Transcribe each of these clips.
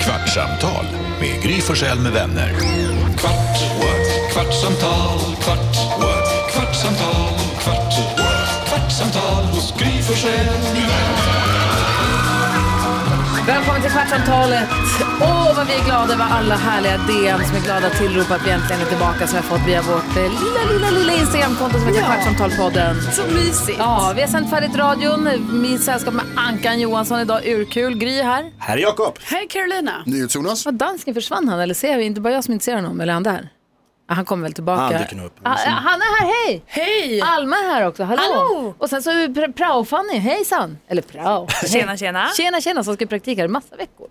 Kvartsamtal med Gry Forssell med vänner. Kvart, what? kvartsamtal, kvart, what? kvartsamtal, kvart, what? kvartsamtal hos Gry Forssell med vänner. Välkommen till Kvartsamtalet. Åh, vad vi är glada över alla härliga DM som är glada att tillropa att vi äntligen är tillbaka som vi har fått via vårt eh, lilla, lilla, lilla Instagramkonto som heter Ja. Kvartsamtalpodden. Så mysigt. Ja, vi har sänt färdigt radion. Min sällskap med Ankan Johansson idag. Urkul. Gry här. Här är Jakob. Hej Carolina. NyhetsJonas. Vad dansken försvann han eller ser jag inte bara jag som inte ser honom eller är han där? Ah, Han kommer väl tillbaka. Han dyker nog upp. Ah, ah, han är här, hej! Hej. Alma är här också, hallå! Hallå! Och sen så är vi pr- prao-Fanny, hejsan! Eller prao. Tjena, tjena. Tjena, tjena, som ska i praktik här i massa veckor.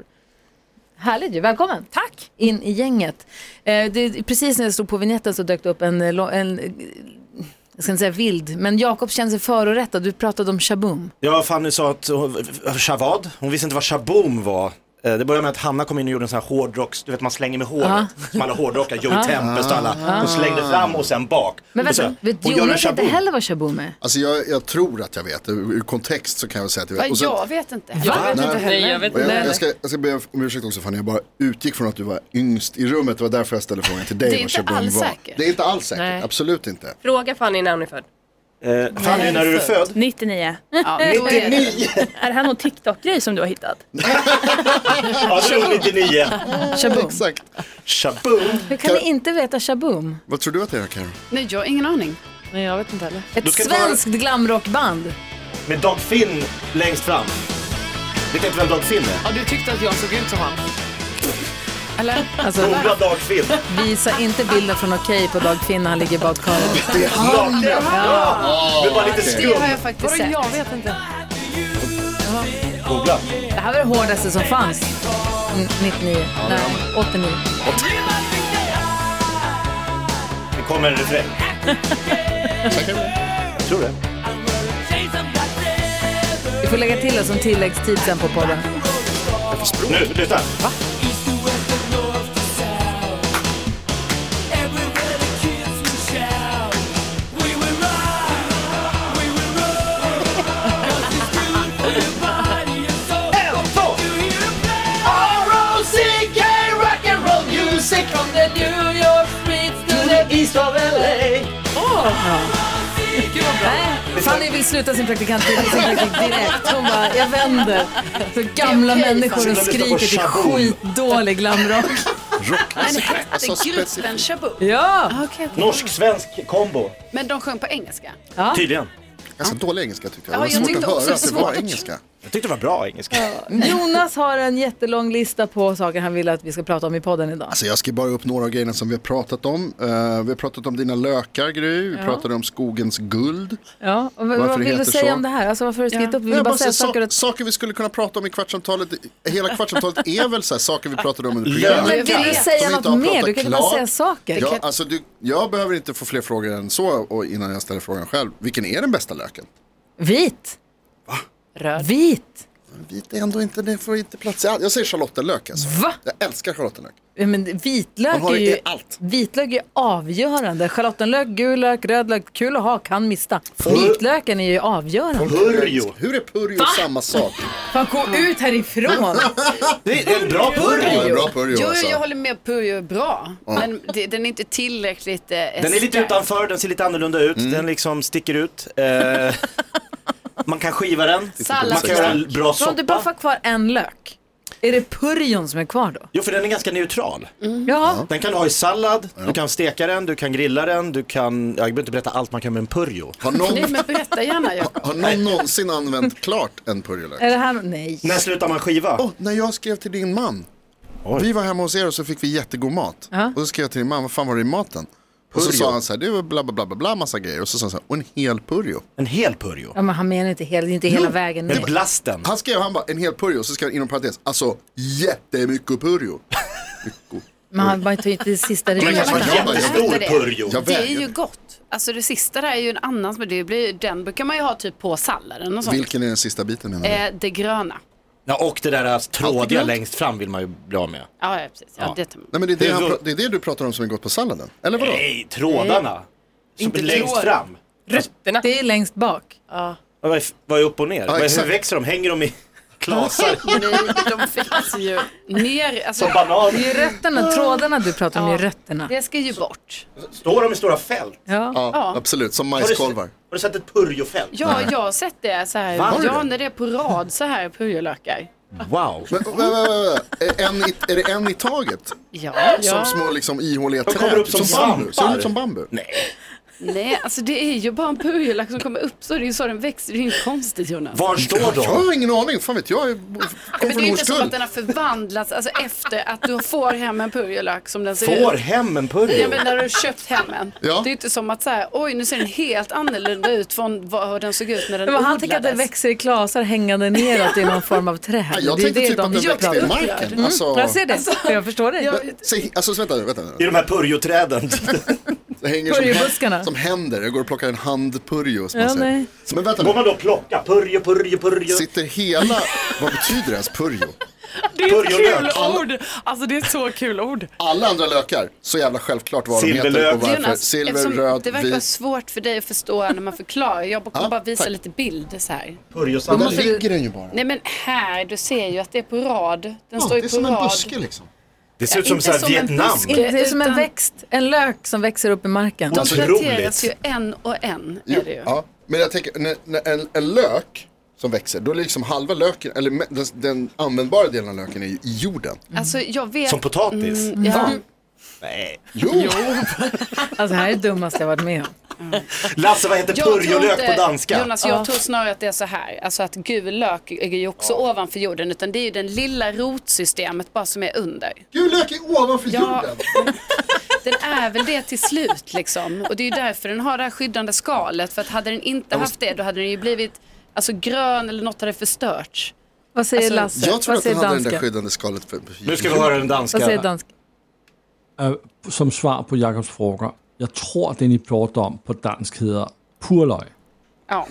Härligt ju, välkommen! Tack. in i gänget. Eh, det, precis när jag stod på vignetten så dök det upp en, eh, lo- en eh, jag ska inte säga vild, men Jakob känner sig förorättad. Du pratade om shaboom. Ja, Fanny sa att hon, Shavad, hon visste inte vad shaboom var. Eh, Det började med att Hanna kom in och gjorde en sån här hårdrocks, du vet man slänger med håret, som alla hårdrockare, Joey Tempest och alla. Hon slängde fram och sen bak. Men Och så- vänta, vet hon gör en Jonas inte shaboom. heller vad shaboom är? Alltså jag, jag tror att jag vet, ur ur kontext så kan jag säga att jag Ja, vet. Och sen- jag vet inte. Jag Ah, vet Nej. heller. jag vet och jag, jag, ska, jag ska be om ursäkt också Fanny, jag bara utgick från att du var yngst i rummet, det var därför jag ställde frågan till dig. Det är vad inte Shabun alls var. säkert. Det är inte alls säkert, Nej. absolut inte. Fråga Fanny när hon är född. Eh, Fanny, när du är född? 99. Ja, då är det. Är det här någon TikTok-grej som du har hittat? Ja, du är 99. Shaboom. Exakt. Shaboom. Hur kan ni inte veta shaboom? Vad tror du att det är Karin? Nej, jag har ingen aning. Ett ska ta- svenskt glamrockband. Med Dog Finn längst fram. Vet inte vem Dog Finn är? Alltså, Googla Dog Finn. visa inte bilden från Okej på Dag Finn när han ligger i badkaret. Det är han! Naken. Ja. Men bara lite Det skum. har jag faktiskt sett. vet inte. Googla. Det här var det hårdaste som fanns. N- 99, nej 89. Det kommer en refräng. Jag tror det. Vi får lägga till det som tilläggstid sen på podden. Nu, lyssna. Nej, Fanny vill sluta sin praktikanttid sin praktik direkt. Hon bara, jag vänder. Så gamla okej, människor Fanny. som skriker till skitdålig glamrock. Men Alltså, hette specifikt. gruppen Shabu? Ja! Norsk-svensk kombo. Men de sjöng på engelska. Tydligen. Ganska dålig engelska tyckte jag. Ja, Det var jag svårt tyckte att också höra det att det var var- engelska. Jag tyckte det var bra engelska. Jonas har en jättelång lista på saker han vill att vi ska prata om i podden idag. Alltså jag ska bara upp några av grejerna som vi har pratat om. Eh, vi har pratat om dina lökar Gry, vi pratade om skogens guld. Ja, och vad- Varför vad det vill du heter säga så? om det här? Alltså varför har du skrivit upp? Vi vill Jag bara bara säga så, saker saker, och vi skulle kunna prata om i kvartsamtalet. Hela kvartsamtalet är väl så här, saker vi pratade om under Ja, men programmet. vill du vet. säga Som vi något inte har mer? pratat Du kan ju bara klart. säga saker. Ja, alltså du, jag behöver inte få fler frågor än så och innan jag ställer frågan själv. Vilken är den bästa löken? Vit. Röd. Vit. Vit är ändå inte, det får inte plats i allt. Jag säger schalottenlök alltså. Va? Jag älskar schalottenlök. Ja, men vitlök Man har är det ju i allt. vitlök är ju avgörande. Schalottenlök, gul lök, röd lök, kul att ha, kan mista. Vitlöken är ju avgörande. Purjo. Hur är purjo samma sak? Fan, gå ut härifrån! Det är en bra Ja, det är purjo. bra purjo Jo, alltså. jag håller med. Pujo är bra. Men det, den är inte tillräckligt eh, Den är lite stark. utanför, den ser lite annorlunda ut. Mm. Den liksom sticker ut. Eh, man kan skiva den. Sallad. Man kan göra en bra Så om du bara får soppa. kvar en lök, är det purjon som är kvar då? Jo, för den är ganska neutral. Mm. Ja. Den kan du ha i sallad, du kan steka den, du kan grilla den, du kan... Jag behöver inte berätta allt man kan med en purjo. Har någon, Nej, men berätta gärna Jakob. har någon någonsin använt klart en purjolök? Är det här... Nej. När slutar man skiva? Åh, när jag skrev till din man. Vi var hemma hos er och så fick vi jättegod mat. Ja. Och så skrev jag till din man, vad fan var det i maten? Och så sa han så här, det var bla bla bla bla, bla massa grejer. Och så sa han så här, och en hel purjo. En hel purjo. Ja, men han menar inte hela, inte hela Jo, vägen Med ner. blasten. Han skrev, han bara, en hel purjo. Så skrev han inom parentes, alltså jättemycket purjo. Men han bara tar ju inte det sista det Men är- kanske var en Jag bara- jättestor jag bara- purjo. Jag Det är ju väger. gott. Alltså det sista där är ju en annan, men det blir, den brukar man ju ha typ på salladen och sånt. Vilken är den sista biten? menar du? Eh, det gröna. Ja, och det där alltså, trådiga glömt. längst fram vill man ju bli av med. Ja, ja precis. Ja, Ja. det tar man. Nej, men det, är det, Hur- han, pra- det är det du pratar om som är gott på salladen? Eller vadå? Eh. Nej, trådarna. Som är längst tråden. fram. Det är längst bak. Vad är, vad är upp och ner? Vad är- exakt. Hur växer de? Hänger de i... klasar. Nej, de finns ju ner. Alltså, Som banan. Det är ju rötterna, trådarna du pratar om, det är rötterna. det ska ju bort. Står de i stora fält? Ja. Ja, absolut. Som Har du, majskolvar. har du sett ett purjofält? Ja, jag har sett det så här. Va? Ja, när det är på rad så här purjolökar. Wow. Men, vä- vä- vä- vä- är en i- Är det en i taget? Ja, Som ja. små liksom, ihåliga träd? kommer upp som bambu. Ser svampar. ut som bambu? Nej. Nej, alltså det är ju bara en purjolök som kommer upp så. Det är ju så den växer. Det är ju inte konstigt Jonas. Var står Jag de? har ingen aning. Fan vet jag. Jag Men kom det är från ju inte som att Hornstull. den har förvandlats alltså, efter att du får hem en purjolök som den ser Får ut. hem en purjo? Ja, men när du har köpt hem en. Ja. Det är ju inte som att så här, oj nu ser den helt annorlunda ut från vad hur den såg ut när den Men odlades. han tänker att den växer i klasar hängande neråt i någon form av träd. Nej, Jag Det är tänkte det typ de- att den Jag växte i pratar- marken. Alltså, Jag ser det, jag förstår dig. se- alltså vänta, nu, vänta. nu. I de här purjoträden. Det hänger som, Purjobuskarna. hä- som händer. Jag går och plockar en handpurjo som Ja, man säger. nej. Men vänta Går nu. man då och plockar? Purjo, purjo, purjo. Sitter hela... Vad betyder ens purjo? Det är ett Purjolök. kul ord. Alltså det är ett så kul ord. Alla andra lökar, så jävla självklart vad de Silverlök. heter och varför. Silver, eftersom röd, det verkar vara vit. svårt för dig att förstå när man förklarar. Jag kommer Ja, bara visa tack. lite bilder så här. Men där Purjosamling. ligger den ju bara. Nej men här, du ser ju att det är på rad. Den Ja, står det ju är på som en rad. buske liksom. Det ser ut som Inte så här som en Vietnam. buske. Det är som en Utan- växt, en lök som växer upp i marken. De Otroligt. planteras ju en och en. Jo, Är det ju. ja. Men jag tänker, när, när en, en lök som växer, då är det liksom halva löken, eller me- den, den användbara delen av löken är ju i jorden. Alltså jag vet. Mm, Som potatis. ja. Nej. Jo! Alltså det här är det dummaste jag varit med om. Lasse, vad heter Jag tror purjolök inte- på danska? Jonas, jag tror snarare att det är så här. Alltså att gul lök är ju också ovanför jorden. Utan det är ju den lilla rotsystemet bara som är under. Gul lök är ovanför Ja. jorden! Den är väl det till slut liksom. Och det är ju därför den har det här skyddande skalet. För att hade den inte haft det då hade den ju blivit alltså, grön eller något hade förstörts. Vad säger Alltså, Lasse? Jag tror Vad att den säger hade det dansken? där skyddande skalet för, för Nu ska vi höra den Vad säger danska. dansken? Øh, som svar på Jakobs fråga. Jag tror, den I bråter om på dansk hedder purløg. Ja,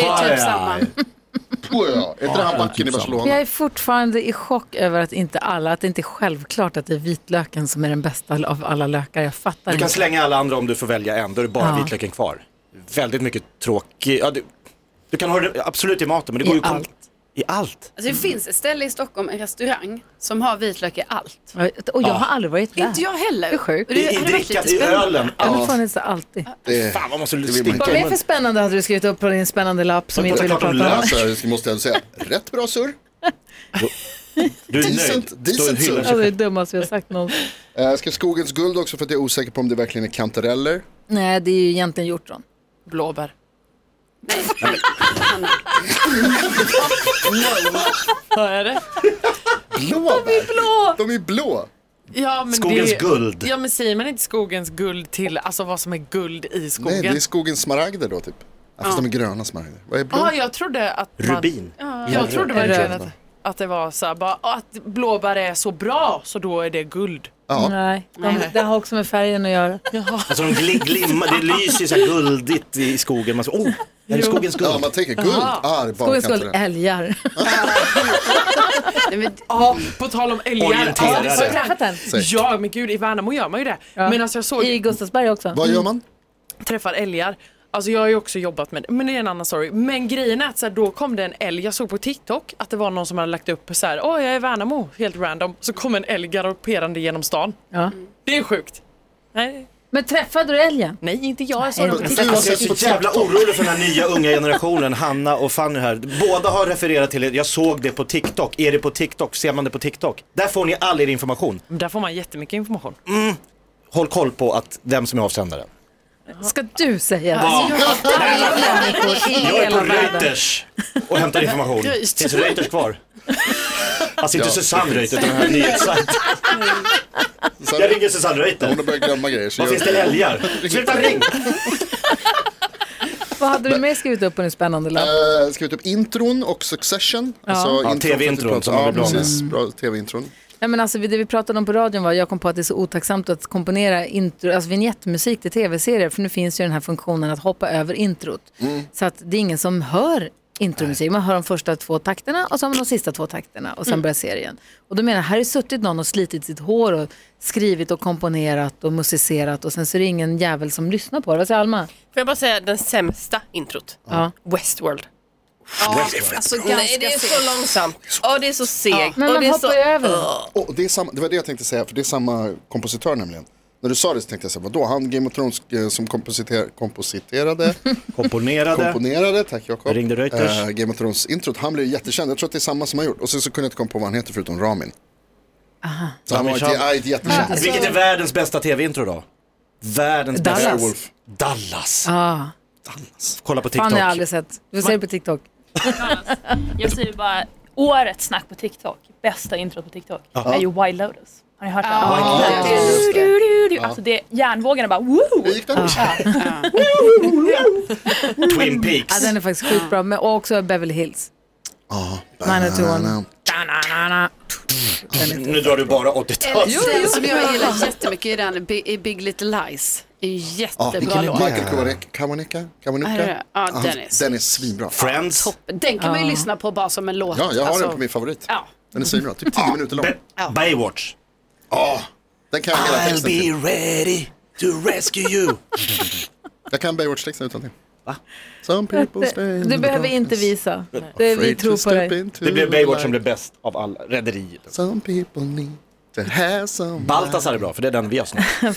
det är typ samma. Puh, ja. Är inte det han backen i typ samma. Barcelona? Jag är fortfarande i chock över att inte alla, att det inte är självklart att det är vitlöken som är den bästa av alla lökar. Jag fattar Du kan inte. slänga alla andra om du får välja en, då är det bara Ja. vitlöken kvar. Väldigt mycket tråkig... Ja, du, du kan ha det absolut i maten, men det går I ju... kom- allt. I allt. Alltså, det finns ett ställe i Stockholm, en restaurang, som har vitlök i allt. Och jag har aldrig varit där. Inte jag heller. Det är sjukt. Och I, det i hade varit drickat, lite i spännande. ölen. Jag Allt. har funnits alltid. Det, Fan vad måste du Det vill man stinka Vad inte. om mer för en- spännande hade du skrivit upp på din spännande lapp som vi Men inte ville prata om prata om? lök. alltså, jag måste jag säga, rätt bra surr. Du är Decent- nöjd. decent Står och hyllar Ja, surr. sig. det är det dummaste vi har sagt någonsin. Eh, Jag skrev skogens guld också för att jag är osäker på om det verkligen är kantareller. Nej, det är ju egentligen hjortron. Blåbär. Vad är det? Blåbär! Blå! De är blå! Ja, men Skogens det... guld. Ja men säger man inte skogens guld till, alltså vad som är guld i skogen? Nej, det är skogens smaragder då typ. Ja, fast de är gröna smaragder. Vad är blå? Ah, Ja, jag trodde att man... Rubin. Jag trodde verkligen Röd. att, att det var så här, bara, att blåbär är så bra så då är det guld. Ja. Nej, de, det har också med färgen att göra. Alltså de glim, glimmar, det lyser så här guldigt i skogen. Man så, oh, här är skogens Ja, guld. man tänker guld. Jaha. Ah, det är bara Skogens guld, kantareller. älgar. Nej, men Ja, på tal om älgar. Orienterare. Ja, alltså, det var ju Träffat den? Säg. Ja, men gud, i Värnamo gör man ju det. Men alltså jag såg, I Gustavsberg också. Vad gör man? träffar älgar. Alltså jag har ju också jobbat med men det är en annan story. Men grejen är att så här, då kom det en älg, jag såg på TikTok att det var någon som hade lagt upp så här, åh jag är i Värnamo, helt random. Så kom en älg galopperande genom stan. Ja. Det är sjukt. Nej, Men träffade du älgen? nej inte jag, jag såg det på Du TikTok. har Alltså, jag sett på är så jävla TikTok. orolig för den här nya unga generationen, Hanna och Fanny här. Båda har refererat till det, jag såg det på TikTok. Är det på TikTok? Ser man det på TikTok? Där får ni all er information. Där får man jättemycket information. Håll koll på att vem som är avsändaren. Ska du säga det? Nej, Människor i Jag är hela på världen. Reuters och hämtar information. Röjst. Finns Reuters kvar? Alltså inte Ja. Mm. Susanne Reuter utan den här nyhetssajten. Så Jag här, ringer Susanne hon Reuter. har börjat glömma grejer. Så Vad gör finns det älgar? Sluta ring! Vad hade du mer skrivit upp på din spännande lapp? Eh, skrivit upp intron och Succession. Alltså, intron för att vi TV-intron pratar- som man Ja, blir bra med. precis. Bra tv-intron. Nej, men alltså, det vi pratade om på radion var jag kom på att det är så otacksamt att komponera intro, alltså vignettmusik till tv-serier för nu finns ju den här funktionen att hoppa över introt. Mm. Så att det är ingen som hör intromusik. Man hör de första två takterna och så har man de sista två takterna och sen Mm. börjar serien. Och då menar jag, här har suttit någon och slitit sitt hår och skrivit och komponerat och musicerat och sen så är det ingen jävel som lyssnar på det. Vad säger Alma? Får jag bara säga den sämsta introt? Ja. Westworld. Ja, alltså ganska Nej, det är så sent. långsamt. Och det är så segt. Men och man det är hoppar så... ju över det. Och det, är samma, det var det jag tänkte säga, för det är samma kompositör nämligen. När du sa det så tänkte jag så här, vadå, han Game of Thrones eh, som kompositer, kompositerade, Komponerade. komponerade, tack Jakob. Ringde Reuters. Eh, Game of Thrones-introt, han blev ju jättekänd, jag tror att det är samma som har gjort. Och sen så kunde jag inte komma på vad han heter förutom Ramin. Aha. Så han var Ramin inte, Shah. ja, inte jättekänd. Alltså- Vilket är världens bästa tv-intro då? Världens bästa. Dallas. Beowulf. Dallas. Ah, Kolla på TikTok. fan, jag har aldrig sett. Du får se det på TikTok. Jag säger bara, årets snack på TikTok, bästa introt på TikTok, är ju Wild Lotus. Har ni hört den? Ah. just Du, du, du. Alltså det, järnvågorna bara woo! Hur gick det? Twin Ja, Peaks. den är faktiskt skitbra. Men och också Beverly Hills. Ah, Mine are two one. Nu drar du bara 80-tal. Den som jag gillar jättemycket är den Bi- i Big Little Lies. En Ja, jättebra vilken är låt. Ah, Michael Kawanek- Kawanika? Är Kawanika? det? Ja, Han- den är så- Den är svinbra. Friends. Den kan man ju lyssna på bara som en låt. Ja, jag har Alltså, den på min favorit. Ja. Den är svinbra, typ 10 minuter lång. Be- Baywatch. Den kan jag hela texten till. ready to rescue you. Jag kan Baywatch-texten utan till. Some people stay in Du the behöver darkness, inte visa. Det, vi afraid to tror på step dig. into Det blev the Baywatch som light. blev bäst av alla. Rederi. Some people need to have some Baltasar är bra, för det är den vi har snart.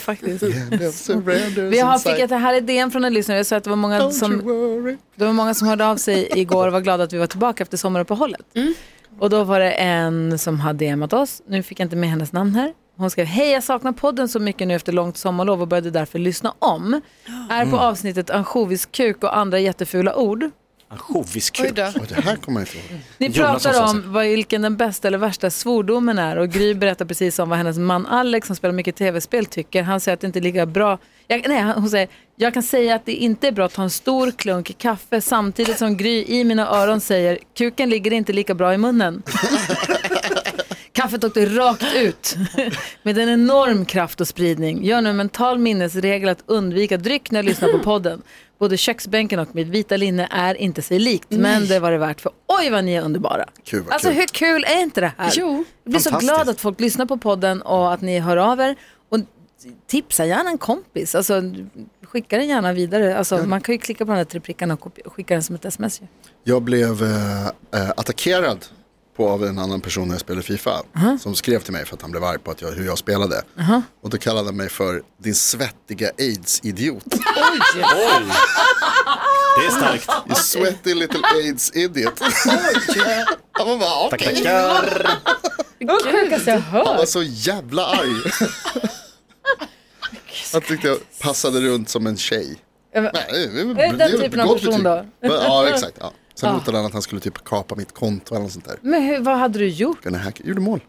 Faktiskt. kind of surrender Vi har fick inside. ett här idén från en lyssnare. Jag sa att det var många Don't you som worry. Det var många som hörde av sig igår och var glada att vi var tillbaka efter sommaruppehållet. Och då var det en som hade DMat oss. Nu fick jag inte med hennes namn här. Hon skrev, hej jag saknar podden så mycket nu efter långt sommarlov och började därför lyssna om. Är Mm. på avsnittet ansjoviskuk och andra jättefula ord. Ansjoviskul. Oj, det här kommer jag inte ihåg. Ni Jonas pratar också, alltså. om vad, vilken den bästa eller värsta svordomen är och Gry berättar precis om vad hennes man Alex som spelar mycket tv-spel tycker. Han säger att det inte är lika bra. Jag, nej, hon säger, jag kan säga att det inte är bra att ta en stor klunk kaffe samtidigt som Gry i mina öron säger kuken ligger inte lika bra i munnen. Kaffet åkte rakt ut med en enorm kraft och spridning. Gör nu en mental minnesregel att undvika dryck när jag lyssnar på podden. Både köksbänken och mitt vita linne är inte sig likt, men det var det värt för oj vad ni är underbara. Kul, vad alltså kul. hur kul är inte det här? Jo. Jag blir så Fantastiskt. glad att folk lyssnar på podden och att ni hör av er. Och tipsa gärna en kompis, alltså, skicka den gärna vidare. Alltså, Man kan ju klicka på de där tre prickarna och kopi- skicka den som ett sms. ju. Jag blev eh, eh, attackerad på av en annan person när jag spelade Fifa. Som skrev till mig för att han blev arg på att jag, hur jag spelade. Och då kallade han mig för din svettiga aids-idiot. Oj! Det är starkt. You sweaty little Ah. aids-idiot. Han var bara, okej. Tackar. Det var det sjukaste jag Han hört. var så jävla arg. Han tyckte jag passade runt som en tjej. Ja, men- Nej, det är väl- den det är väl typen av gott person betyg. då? Men, Ja, exakt. Ja. Sen hotade han att han skulle typ kapa mitt konto eller något sånt där. Men hur, vad hade du gjort? Den här gjorde mål.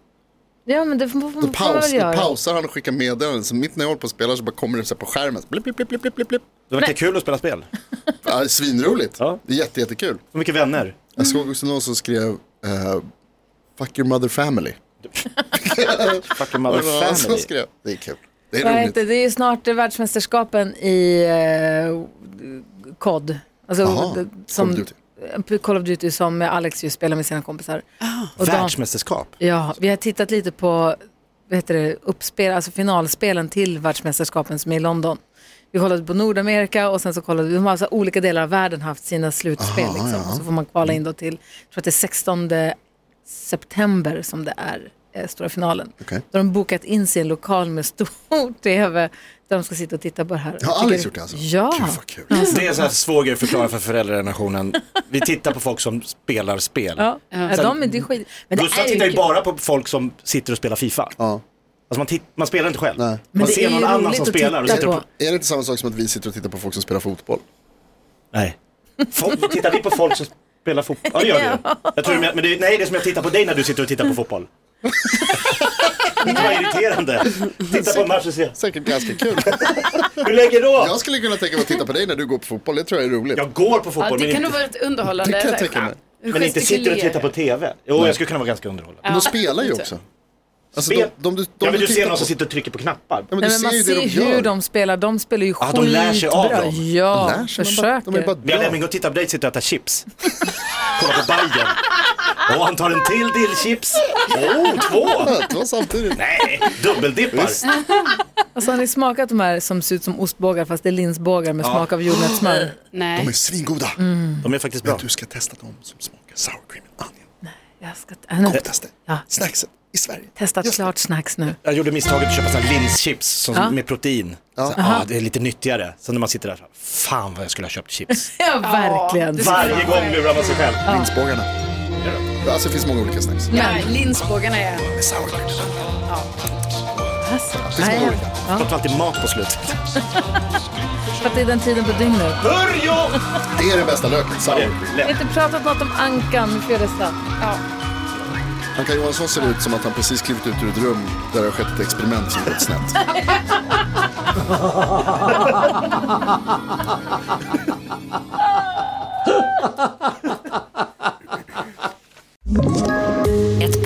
Ja, men det får får- får Då, man paus, väl då göra. pausar han och skickar meddelanden. Så mitt när jag håller på och spelar så bara kommer det så här på skärmen. Blip, blip, blip, blip, blip, blip. Det verkar kul att spela spel. Ja, det är svinroligt. Ja. Det är jätte, jättekul. Så mycket vänner. Jag såg också någon som skrev eh, Fuck your mother family. Fucking Det mother var någon som family. skrev. Det är kul. Det Vad är heter roligt. det? det är ju snart eh, världsmästerskapen i eh, COD. Alltså, Jaha, d- Call som, of Duty. eh, Call of Duty som Alex ju spelar med sina kompisar. Och de- Världsmästerskap. ja, vi har tittat lite på vad heter det, uppspel, alltså finalspelen till världsmästerskapen som är i London. Vi kollade på Nordamerika och sen så kollade vi, de har alltså olika delar av världen haft sina slutspel. Aha, liksom. ja. Så får man kvala in då till, jag tror att det är 16 september som det är eh, stora finalen. Okej. Då har de bokat in sig i en lokal med stor tv där de ska sitta och titta på det här. Jag Har tycker- Alex gjort det alltså? Ja. Gud vad kul. Det är så här svåger förklarar för föräldragenerationen. Vi tittar på folk som spelar spel. Ja, ja. de är inte skit. Men det Gustav är ju tittar ju kul. bara på folk som sitter och spelar Fifa. Ja. Alltså man, titt- man spelar inte själv. Nej. Man Men det är ser ju någon annan roligt som att spelar. Och titta sitter och... på. pl- Är det inte samma sak som att vi sitter och tittar på folk som spelar fotboll? Nej. Folk, tittar vi på folk som spelar fotboll? Ja det gör vi ju. jag tror, men men det, är- Nej det är som jag tittar på dig när du sitter och tittar på fotboll. Det var irriterande. Titta på en match och se. Säkert ganska kul. Hur lägger då? Jag skulle kunna tänka mig att titta på dig när du går på fotboll, det tror jag är roligt. Jag går på Ja, fotboll det men kan nog inte, vara ett underhållande. Det kan jag så här, tänka mig. hur men inte sitter och gestikulerar. tittar på TV. Jo jag skulle kunna vara ganska underhållande. Men de spelar ju också. Alltså, de, de, de, de ja, men du ser tittar någon på. som sitter och trycker på knappar. Ja, men Nej, du men man ser ju ser det de hur gör. de spelar. De spelar ju Ja, de lär sig av skitbra. dem. Ja, lär sig, de bara- försöker. de är bara Jag bra. lämnar och tittar på dig sitter och äter chips. Kolla på Bajen. Och han tar en till dillchips. Oh, två! Ja, Det var samtidigt. Nej, dubbeldippar. Visst. Alltså, har ni smakat de här som ser ut som ostbågar fast det är linsbågar med smak av jordnötssmör? Nej. De är svingoda. Mm. De är faktiskt bra. Men du ska testa dem som smakar sour cream and onion. Jag ska jag Eh, har Testa Ja. snacksen i Sverige. testat Just det. klart snacks nu. Jag gjorde misstaget att köpa sådana här linschips som, Ja. med protein. Ja. Så, ah, det är lite nyttigare. Sen när man sitter där, så, här, fan vad jag skulle ha köpt chips. Ja, verkligen. Varje gång lurar man sig själv. Linsbågarna. Alltså det finns många olika snacks. Ja, linsbågarna är... Med sour cream. Alltså, Det nej, finns många jag- olika. Jag tar alltid mat på slutet. för att det är den tiden på dygnet. Börja! Det är den bästa löken. Sour cream. Vi har inte pratat något om Ankan i Fredrikstad. Anka Johansson ser ut som att han precis klivit ut ur ett rum där det har skett ett experiment som gått snett. Ett